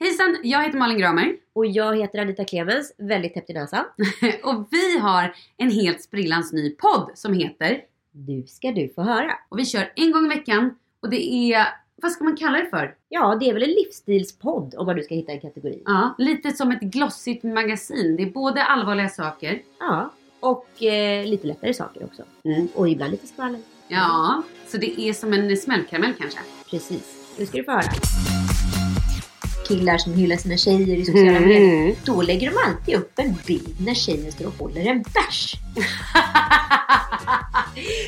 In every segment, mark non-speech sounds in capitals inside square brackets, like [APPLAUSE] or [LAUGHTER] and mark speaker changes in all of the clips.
Speaker 1: Hejsan, jag heter Malin Gramer [LAUGHS]
Speaker 2: Och jag heter Anita Clemens, väldigt täppt i näsan.
Speaker 1: och vi har en helt sprillans ny podd som heter
Speaker 2: Nu ska du få höra.
Speaker 1: och vi kör en gång i veckan och det är, vad ska man kalla det för?
Speaker 2: Ja, det är väl en livsstilspodd om man nu ska hitta en kategori.
Speaker 1: Ja, lite som ett glossigt magasin. Det är både allvarliga saker,
Speaker 2: Ja, och eh, lite lättare saker också.
Speaker 3: Mm.
Speaker 2: Och ibland lite skvaller.
Speaker 1: ja, så det är som en smällkaramell kanske.
Speaker 2: Precis. Nu ska du få höra. Killar som hyllar sina tjejer i sociala
Speaker 3: Mm.
Speaker 2: medier.
Speaker 1: [LAUGHS]
Speaker 2: Då lägger de alltid upp en bild när tjejen står och håller en bärs.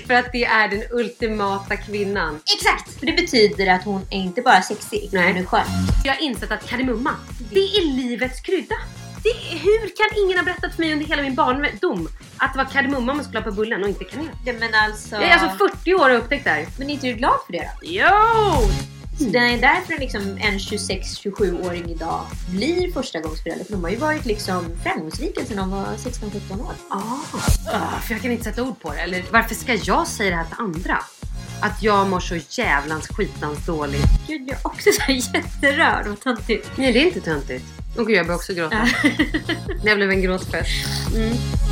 Speaker 3: För att det är den ultimata kvinnan.
Speaker 2: Exakt! För det betyder att hon är inte bara sexig,
Speaker 3: Nej.
Speaker 2: hon är skön.
Speaker 3: Jag har insett att kardemumma, det är livets krydda. Det är, hur kan ingen ha berättat för mig under hela min barndom att det var kardemumma man skulle ha på bullen och inte kanel?
Speaker 2: Ja, men alltså...
Speaker 3: Jag är alltså 40 år och har upptäckt det här.
Speaker 2: Men är inte du glad för det då?
Speaker 3: Jo!
Speaker 2: Så det är därför liksom en 26-27-åring idag blir förstagångsförälder. För de har ju varit liksom framgångsrika sedan de var 16-17 år.
Speaker 3: Ah, ah, för jag kan inte sätta ord på det. Eller varför ska jag säga det här till andra? Att jag mår så jävlans skitans dåligt.
Speaker 2: Gud, jag är också så här jätterörd. Vad töntigt.
Speaker 3: Nej, det är inte töntigt. Och gud, jag börjar också gråta. Det blev en gråtfest. Mm.